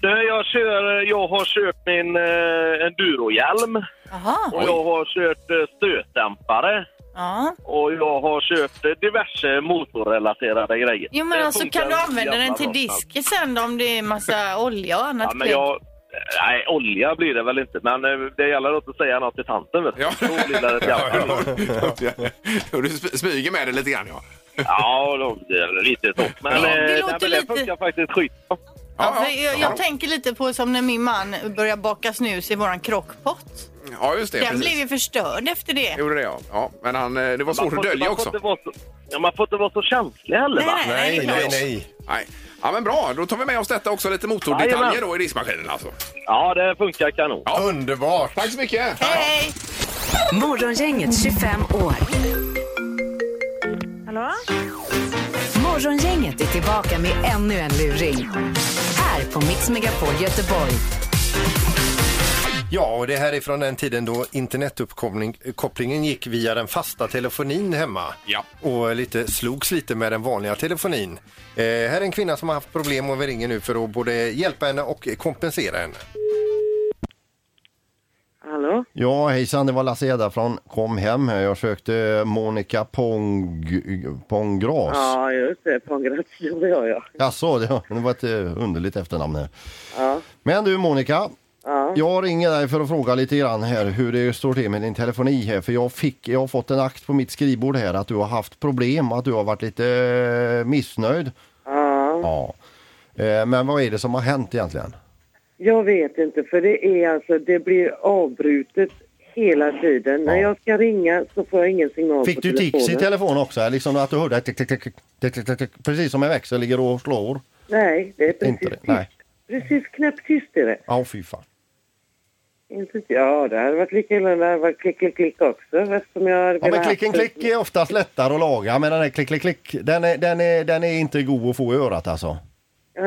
Speaker 7: Du, Jag, kör, jag har kört min eh, endurohjälm
Speaker 4: Jaha.
Speaker 7: och
Speaker 2: Oj.
Speaker 7: jag har kört eh, stötdämpare
Speaker 4: Ja.
Speaker 7: och jag har kört eh, diverse motorrelaterade grejer.
Speaker 4: Jo men
Speaker 7: Det
Speaker 4: alltså
Speaker 7: funkar
Speaker 4: kan du använda den
Speaker 7: jävla
Speaker 4: till
Speaker 7: bra.
Speaker 4: disk sen om det är
Speaker 7: [laughs]
Speaker 4: massa olja och annat
Speaker 7: Ja, men
Speaker 4: skit?
Speaker 7: jag, nej, olja blir det väl inte, men eh, det gäller att inte säga något till
Speaker 2: [laughs]
Speaker 7: tanten. Vet du.
Speaker 2: Ja.
Speaker 7: Då blir det ett jävla...
Speaker 2: Och du sp- smyger med det lite grann ja.
Speaker 7: Ja, då blir det lite så. Men,
Speaker 4: Ja, det
Speaker 7: eh, nej,
Speaker 4: låter
Speaker 7: men det
Speaker 4: lite-
Speaker 7: funkar faktiskt skitbra.
Speaker 4: Ja, för
Speaker 2: ja.
Speaker 4: jag, jag tänker lite på som när min man började baka snus i våran krockpott.
Speaker 2: Ja, just det.
Speaker 4: Den blev
Speaker 2: Precis.
Speaker 4: ju förstörd efter det.
Speaker 2: Gjorde det ja. ja. Men han, eh, det var svårt att
Speaker 7: inte-
Speaker 2: dölja
Speaker 7: man får
Speaker 2: också.
Speaker 7: inte vara så, ja, man får inte vara så känslig heller. va?
Speaker 4: Nej, det är
Speaker 3: Nej,
Speaker 4: klart.
Speaker 3: nej, nej.
Speaker 2: Nej. Ja men bra, då tar vi med oss detta också. Lite motordetaljer
Speaker 7: Jajamän.
Speaker 2: då i diskmaskinen alltså.
Speaker 7: Ja, det funkar kanon.
Speaker 3: Underbart.
Speaker 2: Tack så mycket!
Speaker 4: Hej!
Speaker 1: Morgongänget 25 år.
Speaker 6: Hallå?
Speaker 1: Morgongänget är tillbaka med ännu en luring. Här på Mix Megapol Göteborg.
Speaker 3: Ja, och det här är från den tiden då internetuppkopplingen gick via den fasta telefonin hemma.
Speaker 2: Ja.
Speaker 3: Och lite, slogs lite med den vanliga telefonin. Eh, här är en kvinna som har haft problem och vi ringer nu för att både hjälpa henne och kompensera henne.
Speaker 10: Hallå?
Speaker 11: Ja, hejsan, det var Lasse Edda från Kom hem här. Jag sökte Monica Pong... Pongras.
Speaker 10: Ja,
Speaker 11: Ja.
Speaker 10: just det. Pongrat gjorde jag, ja.
Speaker 11: Jaså, det det var ett eh, underligt efternamn här.
Speaker 10: Ja.
Speaker 11: Men du Monica,
Speaker 10: Ja.
Speaker 11: jag ringer dig för att fråga lite grann här hur det står till med din telefoni här. För jag, fick, jag har fått en akt på mitt skrivbord här att du har haft problem, att du har varit lite eh, missnöjd.
Speaker 10: ja.
Speaker 11: Ja. Eh, Men vad är det som har hänt egentligen?
Speaker 10: Jag vet inte, för det är alltså, det blir avbrutet hela tiden. När
Speaker 11: Ja.
Speaker 10: jag ska ringa så får jag ingen signal på
Speaker 11: Fick du
Speaker 10: telefonen.
Speaker 11: tics i telefon också? här? Liksom att du hörde tick, tick, tick, tick, tick, tick, tick, tick, precis som en växel ligger och slår?
Speaker 10: Nej, det är precis
Speaker 11: Inte det,
Speaker 10: tyst.
Speaker 11: nej.
Speaker 10: Precis knäpptyst är det.
Speaker 11: Ja, fy fan.
Speaker 10: Inte, ja, det hade varit lika illa om det hade varit klick, klick, klick också eftersom jag hade
Speaker 11: Ja, men
Speaker 10: velat
Speaker 11: klicken
Speaker 10: haft det.
Speaker 11: klick är oftast lättare att laga, men den här klick, klick, klick, den är, den är, den är inte god att få i örat alltså.
Speaker 10: Ja.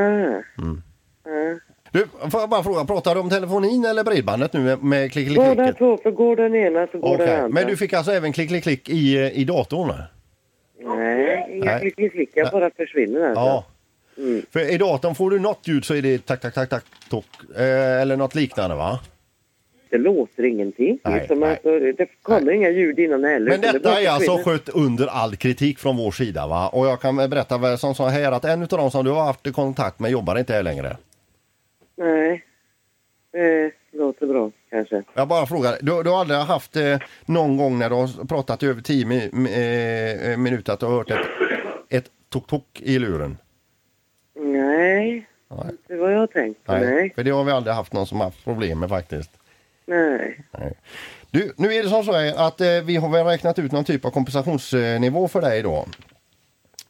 Speaker 10: Ja.
Speaker 11: Du, får jag bara fråga, pratar du om telefonin eller bredbandet nu med- med klick, klick,
Speaker 10: Båda
Speaker 11: klick?
Speaker 10: två, för går den ena så går den
Speaker 11: Okej,
Speaker 10: andra.
Speaker 11: men du fick alltså även klick, klick, klick i, eh, i datorn?
Speaker 10: Nej, inga
Speaker 11: Nej.
Speaker 10: klick, klick, klick. Jag bara försvinner alltså.
Speaker 11: Ja. För i datorn får du något ljud så är det tack, tack, tack, tack, tok, eh, eller något liknande va?
Speaker 10: Det låter ingenting.
Speaker 11: Nej,
Speaker 10: liksom,
Speaker 11: nej.
Speaker 10: alltså, det kommer inga ljud innan heller.
Speaker 11: Men
Speaker 10: utan det bara
Speaker 11: detta är alltså
Speaker 10: försvinner.
Speaker 11: skött under all kritik från vår sida va? Och jag kan berätta väl som så här att en av de som du har haft kontakt med jobbar inte här längre.
Speaker 10: Nej. Det låter bra, kanske.
Speaker 11: Jag bara frågar, du, du har aldrig haft eh, någon gång när du har pratat i över 10 mi, mi- eh, minuter att du har hört ett, ett tok-tok i luren?
Speaker 10: Nej.
Speaker 11: Nej.
Speaker 10: Inte vad jag tänkt på, nej.
Speaker 11: För det har vi aldrig haft någon som har haft problem med faktiskt.
Speaker 10: Nej.
Speaker 11: Nej. Du, nu är det som så här att eh, vi har väl räknat ut någon typ av kompensationsnivå för dig då.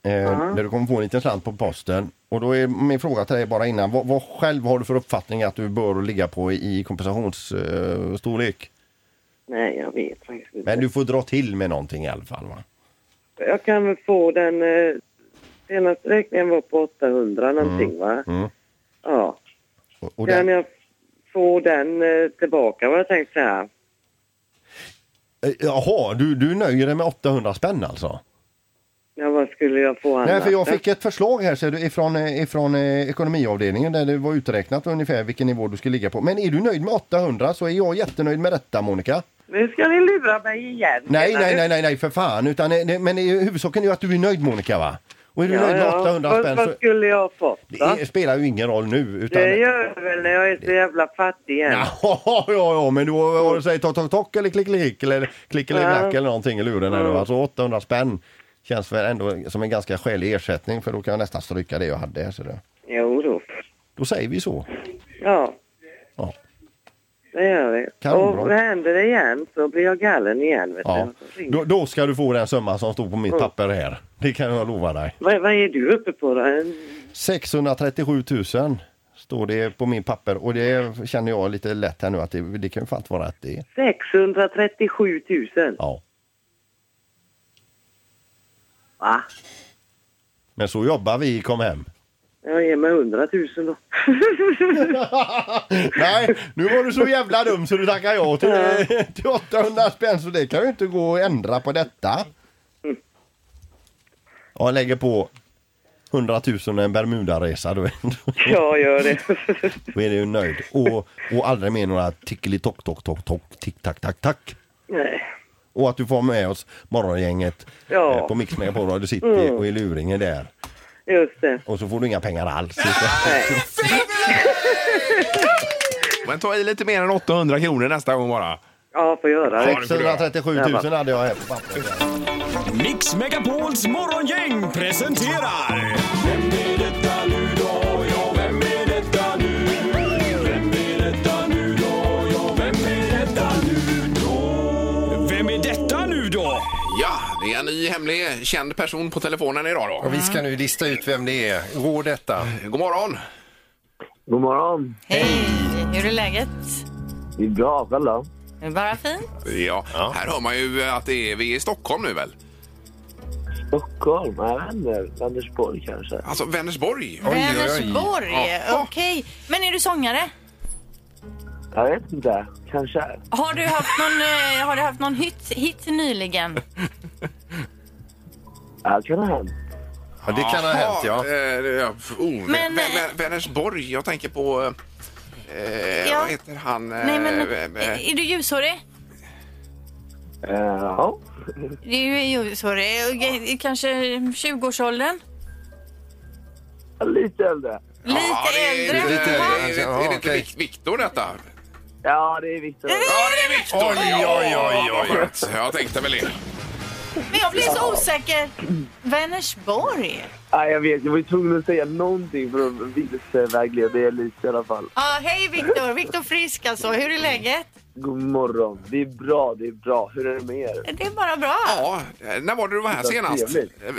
Speaker 11: Eh, Där du kommer få en liten slant på posten. Och då är min fråga till dig bara innan, vad, vad själv har du för uppfattning att du bör ligga på i, i kompensationsstorlek? Eh, storlek?
Speaker 10: Nej, jag vet faktiskt inte.
Speaker 11: Men du får dra till med någonting i alla fall va?
Speaker 10: Jag kan väl få den... Eh, senaste räkningen var på 800 någonting, va?
Speaker 11: Mm.
Speaker 10: Ja.
Speaker 11: Och, och
Speaker 10: Kan
Speaker 11: den-
Speaker 10: jag få den eh, tillbaka, vad jag tänkt så här?
Speaker 11: Eh, Jaha, du, du nöjer dig med 800 spänn alltså?
Speaker 10: Ja, vad skulle jag få annars?
Speaker 11: Nej, för jag
Speaker 10: då?
Speaker 11: fick ett förslag här ser du, ifrån, eh, ifrån eh, ekonomiavdelningen där det var uträknat ungefär vilken nivå du skulle ligga på. Men är du nöjd med 800 så är jag jättenöjd med detta Monica.
Speaker 10: Nu ska ni lura mig igen.
Speaker 11: Nej,
Speaker 10: menar
Speaker 11: nej,
Speaker 10: du?
Speaker 11: nej, nej, nej för fan. Utan, eh, det- men i huvudsaken är ju att du är nöjd Monica va? Och är du nöjd med 800
Speaker 10: vad,
Speaker 11: spänn
Speaker 10: Vad
Speaker 11: så
Speaker 10: skulle jag ha fått
Speaker 11: det
Speaker 10: då?
Speaker 11: är- spelar ju ingen roll nu. Utan,
Speaker 10: Det gör det väl när jag är så jävla fattig igen.
Speaker 11: Ja, [laughs] ja, ja, men du har har du sagt tok, tok, tok eller klick, klick, eller klick eller knack eller någonting i luren. Mm. Alltså 800 spänn känns väl ändå som en ganska skälig ersättning för då kan jag nästan stryka det jag hade. Så det.
Speaker 10: Jo då.
Speaker 11: Då säger vi så.
Speaker 10: Ja.
Speaker 11: Ja.
Speaker 10: det gör vi.
Speaker 11: Kanonbra.
Speaker 10: Och händer det igen så blir jag gallen igen. Vet
Speaker 11: Ja.
Speaker 10: du.
Speaker 11: Då, då ska du få den summan som står på mitt
Speaker 10: Mm.
Speaker 11: papper här. Det kan jag lova dig.
Speaker 10: Vad, vad är du uppe på då? En-
Speaker 11: 637 000 står det på min papper och det känner jag lite lätt här nu att det, det kan ju fan inte vara rätt det.
Speaker 10: 637 000?
Speaker 11: Ja.
Speaker 10: Va?
Speaker 11: Men så jobbar vi i Kom Hem.
Speaker 10: Jag ger mig 100 000 då. [laughs]
Speaker 11: Nej, [laughs] nu var du så jävla dum så du tackar ja till, eh, till 800 spänn så det kan ju inte gå att ändra på detta. Ja, Jag lägger på 100 000 och en Bermudaresa. Då,
Speaker 10: Ja, gör det.
Speaker 11: då är du nöjd. Och, och aldrig mer några tickelitok tok tok tok tick tack tack tack.
Speaker 10: Nej.
Speaker 11: Och att du får med oss morgongänget
Speaker 10: Ja.
Speaker 11: eh, på Mix Megapol Radio City
Speaker 10: Mm.
Speaker 11: och i luringen där.
Speaker 10: Just det.
Speaker 11: Och så får du inga pengar alls.
Speaker 2: Men ta i lite mer än 800 kronor nästa gång bara.
Speaker 10: Ja, får göra
Speaker 2: det.
Speaker 11: 637 000 hade jag här på pappret.
Speaker 12: Mix Megapols morgongäng presenterar... Vem är detta nu då? Ja, vem är detta nu? Vem är detta nu då? Ja, vem är detta nu då? Vem är detta nu då?
Speaker 2: Ja, det är en ny hemlig känd person på telefonen idag då.
Speaker 3: Och vi ska nu lista ut vem det är. Går detta?
Speaker 2: God morgon!
Speaker 13: God morgon.
Speaker 4: Hej! Hur är läget?
Speaker 13: Det är bra, själv då?
Speaker 4: Det är bara fint.
Speaker 2: Ja, här hör man ju att det är, vi är i Stockholm nu väl?
Speaker 13: Stockholm? Nej, vad händer? Vänersborg kanske?
Speaker 2: Alltså Vänersborg?
Speaker 4: Vänersborg,
Speaker 2: Ja.
Speaker 4: okej. Men är du sångare?
Speaker 13: Jag vet inte. Kanske.
Speaker 4: Har du haft någon, eh, har du haft någon hit, hit nyligen?
Speaker 13: Ja, det kan ha hänt.
Speaker 3: Ja, det kan ha hänt, ja.
Speaker 2: eh, det- ja, f- Oh,
Speaker 4: Men, eh,
Speaker 2: men, Vänersborg, jag tänker på... Eh,
Speaker 4: Ja.
Speaker 2: Vad heter han? eh,
Speaker 4: Nej, men
Speaker 2: eh,
Speaker 4: är, är du ljushårig?
Speaker 13: Ja.
Speaker 4: Du är ljushårig. Och g- Kanske 20-årsåldern?
Speaker 13: Lite äldre.
Speaker 4: Lite äldre.
Speaker 2: Är, det- är, det-
Speaker 3: Ja,
Speaker 2: är det inte
Speaker 3: okej.
Speaker 2: Vik- Viktor detta?
Speaker 13: Ja, det är Viktor.
Speaker 2: Ja, det är Viktor!
Speaker 3: Oj, oj, oj, oj, oj.
Speaker 2: Jag tänkte väl det.
Speaker 4: Men jag blir så osäker. Vänersborg?
Speaker 13: Ja, jag vet. Jag var ju tvungen att säga någonting för att vilsevägleda er lite i alla fall.
Speaker 4: Ja, hej Viktor. Viktor Frisk alltså. Hur är läget?
Speaker 13: God morgon. Det är bra, det är bra. Hur är det med er?
Speaker 4: Det är bara bra.
Speaker 2: Ja, eh, när var det du var här
Speaker 13: Vad
Speaker 2: senast?
Speaker 13: trevligt.
Speaker 2: Eh,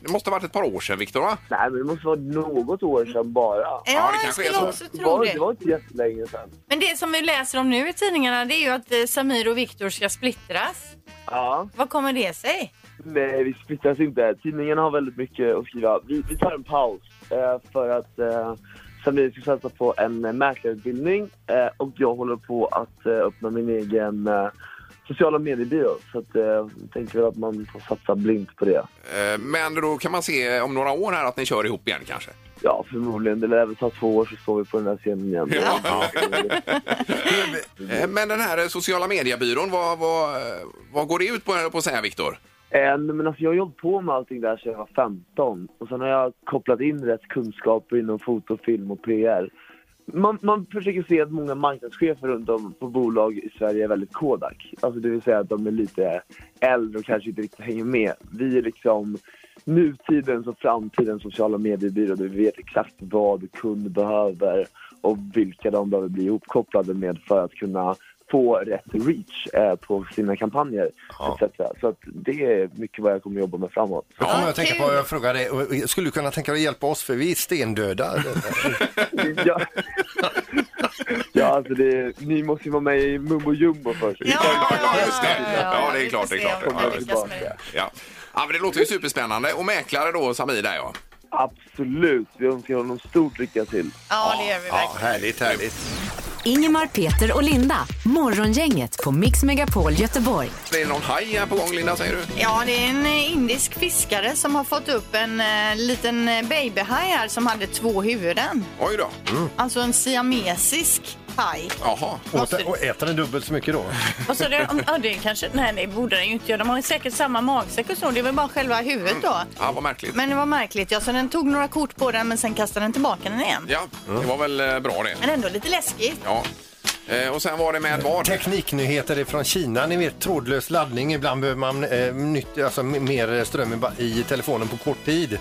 Speaker 2: Det måste ha varit ett par år sedan, Viktor, va?
Speaker 13: Nej, men det måste vara något år sedan bara.
Speaker 4: Ja, det kanske jag är skulle så. också tro
Speaker 13: var,
Speaker 4: det.
Speaker 13: Det var inte jättelänge sedan.
Speaker 4: Men det som vi läser om nu i tidningarna det är ju att eh, Samir och Viktor ska splittras.
Speaker 13: Ja.
Speaker 4: Vad kommer det sig?
Speaker 13: Nej, vi splittras inte. Tidningen har väldigt mycket att skriva. Vi, vi tar en paus eh, för att eh, Samir ska satsa på en eh, mäklarutbildning eh, och jag håller på att eh, öppna min egen eh, sociala mediebyrå. Så att, eh, jag tänker väl att man får satsa blint på det.
Speaker 2: Eh, Men då kan man se om några år här att ni kör ihop igen kanske.
Speaker 13: Ja, förmodligen. Det lär väl ta två år så står vi på den här scenen igen. Ja.
Speaker 3: Mm.
Speaker 2: Eh, Men den här eh, sociala mediebyrån, vad, vad, eh, vad går det ut på, höll jag på att säga, Viktor?
Speaker 13: Eh, nej, men alltså, jag har jobbat på med allting där sedan jag var 15 och sen har jag kopplat in rätt kunskaper inom foto, film och PR. Man, man försöker se att många marknadschefer runt om på bolag i Sverige är väldigt Kodak. Alltså det vill säga att de är lite äldre och kanske inte riktigt hänger med. Vi är liksom nutidens och framtidens sociala mediebyrå där vi vet exakt vad kund behöver och vilka de behöver bli ihopkopplade med för att kunna få rätt reach eh, på sina kampanjer etc. Så att det är mycket vad jag kommer jobba med framåt.
Speaker 3: Då kommer jag att tänka på vad jag frågade. Och Skulle du kunna tänka dig att hjälpa oss för vi är stendöda?
Speaker 13: ja. [laughs] ja, alltså det, ni måste ju vara med i Mumbo Jumbo först.
Speaker 2: Just det. Ja, det är klart, det är klart.
Speaker 13: Kommer
Speaker 2: Ja,
Speaker 13: jag
Speaker 2: visst.
Speaker 13: tillbaka.
Speaker 2: Ja. ja, men det låter ju superspännande. Och mäklare då, Samir där ja.
Speaker 13: Absolut, vi önskar honom stort lycka till.
Speaker 4: Ja, det gör vi verkligen.
Speaker 3: härligt, härligt.
Speaker 1: Ingemar, Peter och Linda. Morgongänget på Mix Megapol Göteborg.
Speaker 2: Det är någon haj här på gång, Linda, säger du?
Speaker 4: Ja, det är en eh, indisk fiskare som har fått upp en eh, liten eh, babyhaj här som hade två huvuden.
Speaker 2: Oj då.
Speaker 3: Mm.
Speaker 4: Alltså en siamesisk haj.
Speaker 2: Jaha.
Speaker 3: Åt, [laughs] och äter den dubbelt så mycket då?
Speaker 4: Och så det, om- ja, det kanske, nej, det borde den ju inte göra. De har ju säkert samma magsäck och så. Det är väl bara själva huvudet då.
Speaker 2: Ja, vad märkligt.
Speaker 4: Men det var märkligt. Ja, så den tog några kort på den men sen kastade den tillbaka den igen.
Speaker 2: Ja, det var väl eh, bra det.
Speaker 4: Men ändå lite läskigt.
Speaker 2: Ja. Eh, Och sen var det med vad?
Speaker 3: Tekniknyheter är från Kina. Ni vet trådlös laddning. Ibland behöver man eh, nytt, alltså, m- mer ström i ba- i telefonen på kort tid.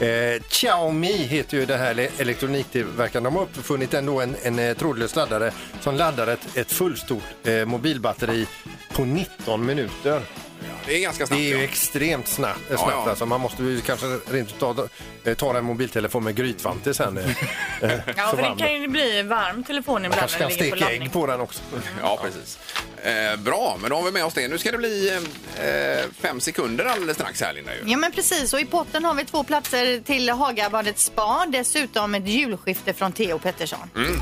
Speaker 3: Eh, Xiaomi heter ju det här le- elektroniktillverkaren. De har uppfunnit ändå en, en eh, trådlös laddare som laddar ett, ett fullstort eh, mobilbatteri på 19 minuter.
Speaker 2: Det är ganska snabbt.
Speaker 3: Det är ju extremt snabbt.
Speaker 2: Ja,
Speaker 3: snabbt
Speaker 2: ja.
Speaker 3: Alltså, man måste ju kanske rent utav ta, eh, ta en mobiltelefon med grytvante sen.
Speaker 8: [laughs]
Speaker 3: eh, eh,
Speaker 4: Ja,
Speaker 3: så
Speaker 4: för det
Speaker 3: varm.
Speaker 4: kan ju bli varm telefon
Speaker 3: Man
Speaker 4: ibland
Speaker 3: kanske
Speaker 4: när den
Speaker 3: kan
Speaker 4: ligger på
Speaker 3: steka
Speaker 4: laddning.
Speaker 3: ägg på den också.
Speaker 2: Ja, precis. Eh, bra, men då har vi med oss det. Nu ska det bli eh, eh, fem sekunder alldeles strax här, Linda. Ju.
Speaker 4: Ja men precis och i potten har vi två platser till Hagabadet spa. Dessutom ett julskifte från Theo Pettersson.
Speaker 2: Mm.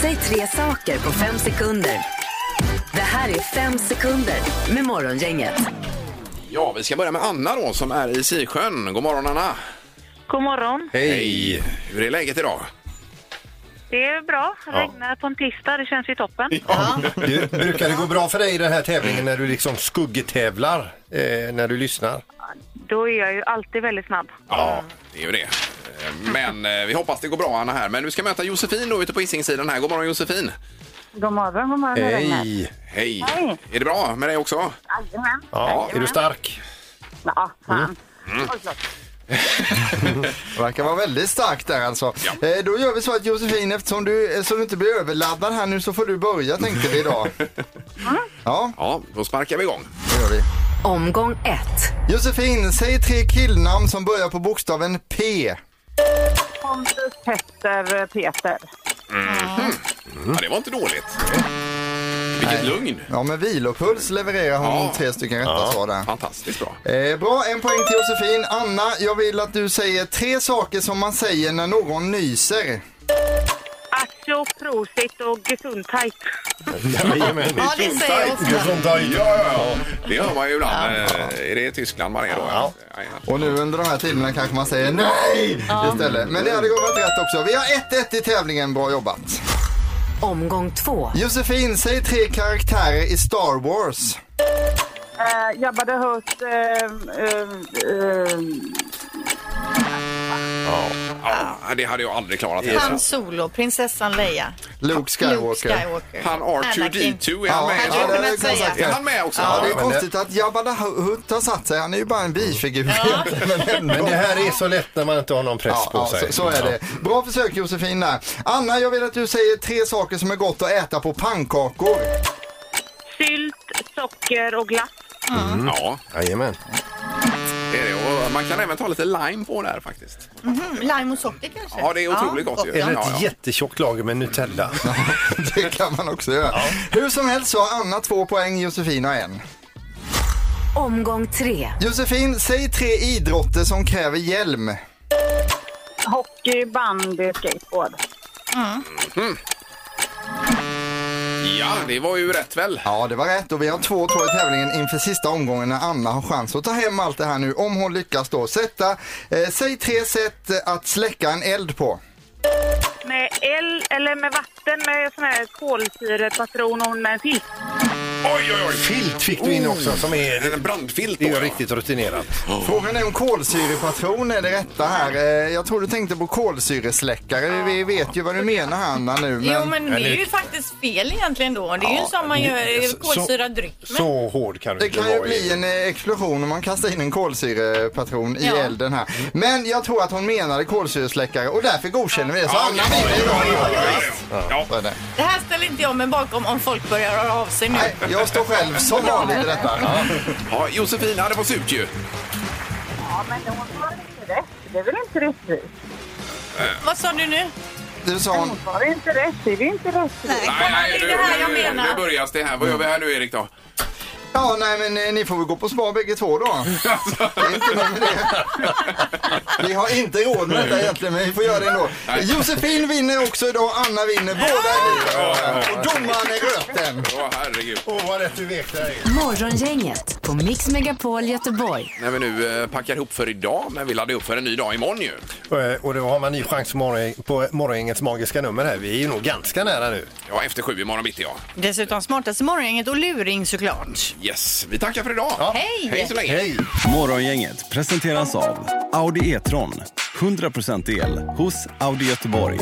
Speaker 1: Säg tre saker på fem sekunder. Det här är fem sekunder med Morgongänget.
Speaker 2: Ja, vi ska börja med Anna då, som är i Sisjön. God morgon, Anna.
Speaker 14: God morgon.
Speaker 2: Hej. Hur är läget idag?
Speaker 14: Det är bra.
Speaker 3: Ja.
Speaker 14: Regnar på en tisdag, det känns ju toppen.
Speaker 3: Du, brukar det gå bra för dig i den här tävlingen när du liksom skuggetävlar eh, när du lyssnar?
Speaker 14: Då är jag ju alltid väldigt snabb.
Speaker 2: Ja, det är ju det. Eh, Men eh, vi hoppas det går bra, Anna. här. Men du ska möta Josefin då, ute på Hisingssidan. Här. God morgon, Josefin.
Speaker 14: God morgon, god morgon.
Speaker 2: Hej!
Speaker 14: Hej.
Speaker 2: Är det bra med dig också?
Speaker 14: Jajamän.
Speaker 2: Är du stark?
Speaker 14: Ja, fan.
Speaker 2: Mm.
Speaker 14: Oj, förlåt.
Speaker 8: Det verkar vara väldigt starkt där alltså. Eh, då gör vi så att Josefin, eftersom du, eftersom du inte blir överladdad här nu så får du börja tänkte vi idag. Ja.
Speaker 2: ja, då sparkar vi igång.
Speaker 8: Det gör vi.
Speaker 1: Omgång ett.
Speaker 8: Josefin, säg tre killnamn som börjar på bokstaven P.
Speaker 14: Pontus, Petter, Peter.
Speaker 2: Ja, det var inte dåligt. Vilket lugn.
Speaker 8: Ja, med vilopuls levererar hon tre stycken rätta svar där.
Speaker 2: Fantastiskt bra.
Speaker 8: Eh, bra, en poäng till Josefin. Anna, jag vill att du säger tre saker som man säger när någon nyser.
Speaker 14: Acho, prosit och gesundheit.
Speaker 3: Jajamän.
Speaker 14: Ja, det
Speaker 2: Mm.
Speaker 14: säger jag ofta.
Speaker 2: Ja, ja, ja. Det hör man ju ibland. Eh, Är det i Tyskland man är då? Ja.
Speaker 8: Och nu under de här tiderna kanske man säger nej
Speaker 1: Ja.
Speaker 8: istället. Men det hade gått rätt också. Vi har 1-1 i tävlingen, bra jobbat.
Speaker 1: Omgång två.
Speaker 8: Josefin, säg tre karaktärer i Star Wars.
Speaker 14: Eh, Jabba the Hutt. Eh, eh, eh,
Speaker 2: Ja. det hade jag aldrig klarat.
Speaker 4: Han Solo, prinsessan Leia.
Speaker 8: Luke
Speaker 4: Skywalker. Luke Skywalker.
Speaker 2: Han R2D2 är han
Speaker 8: Ja,
Speaker 2: med?
Speaker 8: hade jag kunnat
Speaker 2: Ja,
Speaker 8: säga.
Speaker 2: Är han med också?
Speaker 8: Ja, det är konstigt att Jabba the Hutt har satt sig. Han är ju bara en bifigur. [laughs] Men
Speaker 3: Men det här är så lätt när man inte har någon press
Speaker 8: Ja,
Speaker 3: på
Speaker 8: ja,
Speaker 3: sig.
Speaker 8: Så, så är det. Bra försök Josefin där. Anna, jag vill att du säger tre saker som är gott att äta på pannkakor. [laughs]
Speaker 14: sylt, socker och glass.
Speaker 2: Mm. Ja.
Speaker 3: Jajamän.
Speaker 2: Det är det. Och man kan även ta lite lime på där faktiskt.
Speaker 4: Mhm, Lime och socker kanske?
Speaker 2: Ja, det är otroligt gott ju.
Speaker 3: Eller ett
Speaker 2: Ja, ja.
Speaker 3: jättetjockt lager med Nutella.
Speaker 8: det kan man också göra. Hur som helst så har Anna två poäng, Josefin har en.
Speaker 1: Omgång tre.
Speaker 8: Josefin, säg tre idrotter som kräver hjälm.
Speaker 14: Hockey, bandy, skateboard.
Speaker 2: Mm. Ja, det var ju rätt väl.
Speaker 8: Ja, det var rätt och vi har två två i tävlingen inför sista omgången när Anna har chans att ta hem allt det här nu om hon lyckas då sätta. Eh, säg tre sätt att släcka en eld på.
Speaker 14: Med el eller med vatten med sån här kolsyrepatron och med en filt.
Speaker 2: Oj, oj, oj!
Speaker 3: Filt fick du
Speaker 8: Oh.
Speaker 3: in också som är...
Speaker 2: En brandfilt.
Speaker 3: Det är ju riktigt rutinerat.
Speaker 8: Frågan är om kolsyrepatron är det rätta här. Eh, Jag tror du tänkte på kolsyresläckare. Vi vet ju vad du menar här, Anna nu.
Speaker 4: Jo, men det är ju faktiskt fel egentligen då. Det är ju som man gör
Speaker 8: så-
Speaker 4: kolsyrad dryck med.
Speaker 3: Så hård kan du
Speaker 8: Det
Speaker 3: inte
Speaker 8: kan ju
Speaker 3: vara i-
Speaker 8: bli en eh, explosion om man kastar in en kolsyrepatron i elden här. Men jag tror att hon menade kolsyresläckare och därför godkänner vi det. Så Anna vinner idag.
Speaker 2: Ja,
Speaker 8: så är det.
Speaker 4: Det här ställer inte jag mig bakom om folk börjar höra av sig nu.
Speaker 8: Jag står själv som vanligt i detta.
Speaker 2: Ja. Ja, Josefin hade fått surt ju.
Speaker 14: Ja, men hon har inte rätt. Det är väl inte rättvist?
Speaker 4: Vad sa du nu?
Speaker 8: Du sa hon...
Speaker 14: Var det inte rätt? Det är inte rättvist.
Speaker 2: Nej, nej,
Speaker 4: det är det här jag
Speaker 2: nu-
Speaker 4: menar.
Speaker 2: Nu börjar det här. Vad gör vi här nu, Erik då?
Speaker 8: Ja, nej men eh, ni får väl gå på spa bägge två då. Det är inte nog med det. Vi har inte råd med detta egentligen, men vi får göra det ändå.
Speaker 2: Nej.
Speaker 8: Josefin vinner också idag, Anna vinner. Båda är lika. Och domaren är röten.
Speaker 2: Åh, herregud.
Speaker 3: Åh, vad rätt du vek där är.
Speaker 1: Morgongänget på Mix Megapol Göteborg.
Speaker 2: När vi nu eh, packar ihop för idag, men vi laddar ihop för en ny dag imorgon ju.
Speaker 3: Eh, Och då har man ny chans på morgon- på morgongängets magiska nummer här. Vi är ju nog ganska nära nu.
Speaker 2: Ja, efter sju imorgon bitti, ja.
Speaker 4: Dessutom smartaste morgongänget och luring såklart.
Speaker 2: Yes, vi tackar för idag.
Speaker 4: Hej!
Speaker 2: Hej så länge. Hej.
Speaker 15: Morgongänget presenteras av Audi E-tron. 100% el hos Audi Göteborg.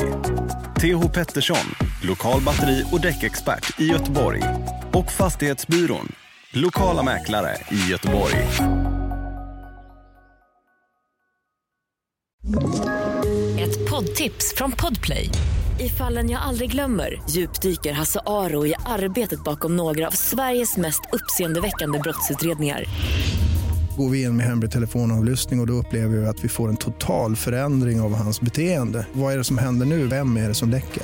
Speaker 15: TH Pettersson, lokal batteri och däckexpert i Göteborg. Och Fastighetsbyrån, lokala mäklare i Göteborg.
Speaker 16: Ett poddtips från Podplay. I fallen jag aldrig glömmer djupdyker Hasse Aro i arbetet bakom några av Sveriges mest uppseendeväckande brottsutredningar.
Speaker 3: Går vi in med hemlig telefonavlyssning och, och då upplever vi att vi får en total förändring av hans beteende. Vad är det som händer nu? Vem är det som läcker?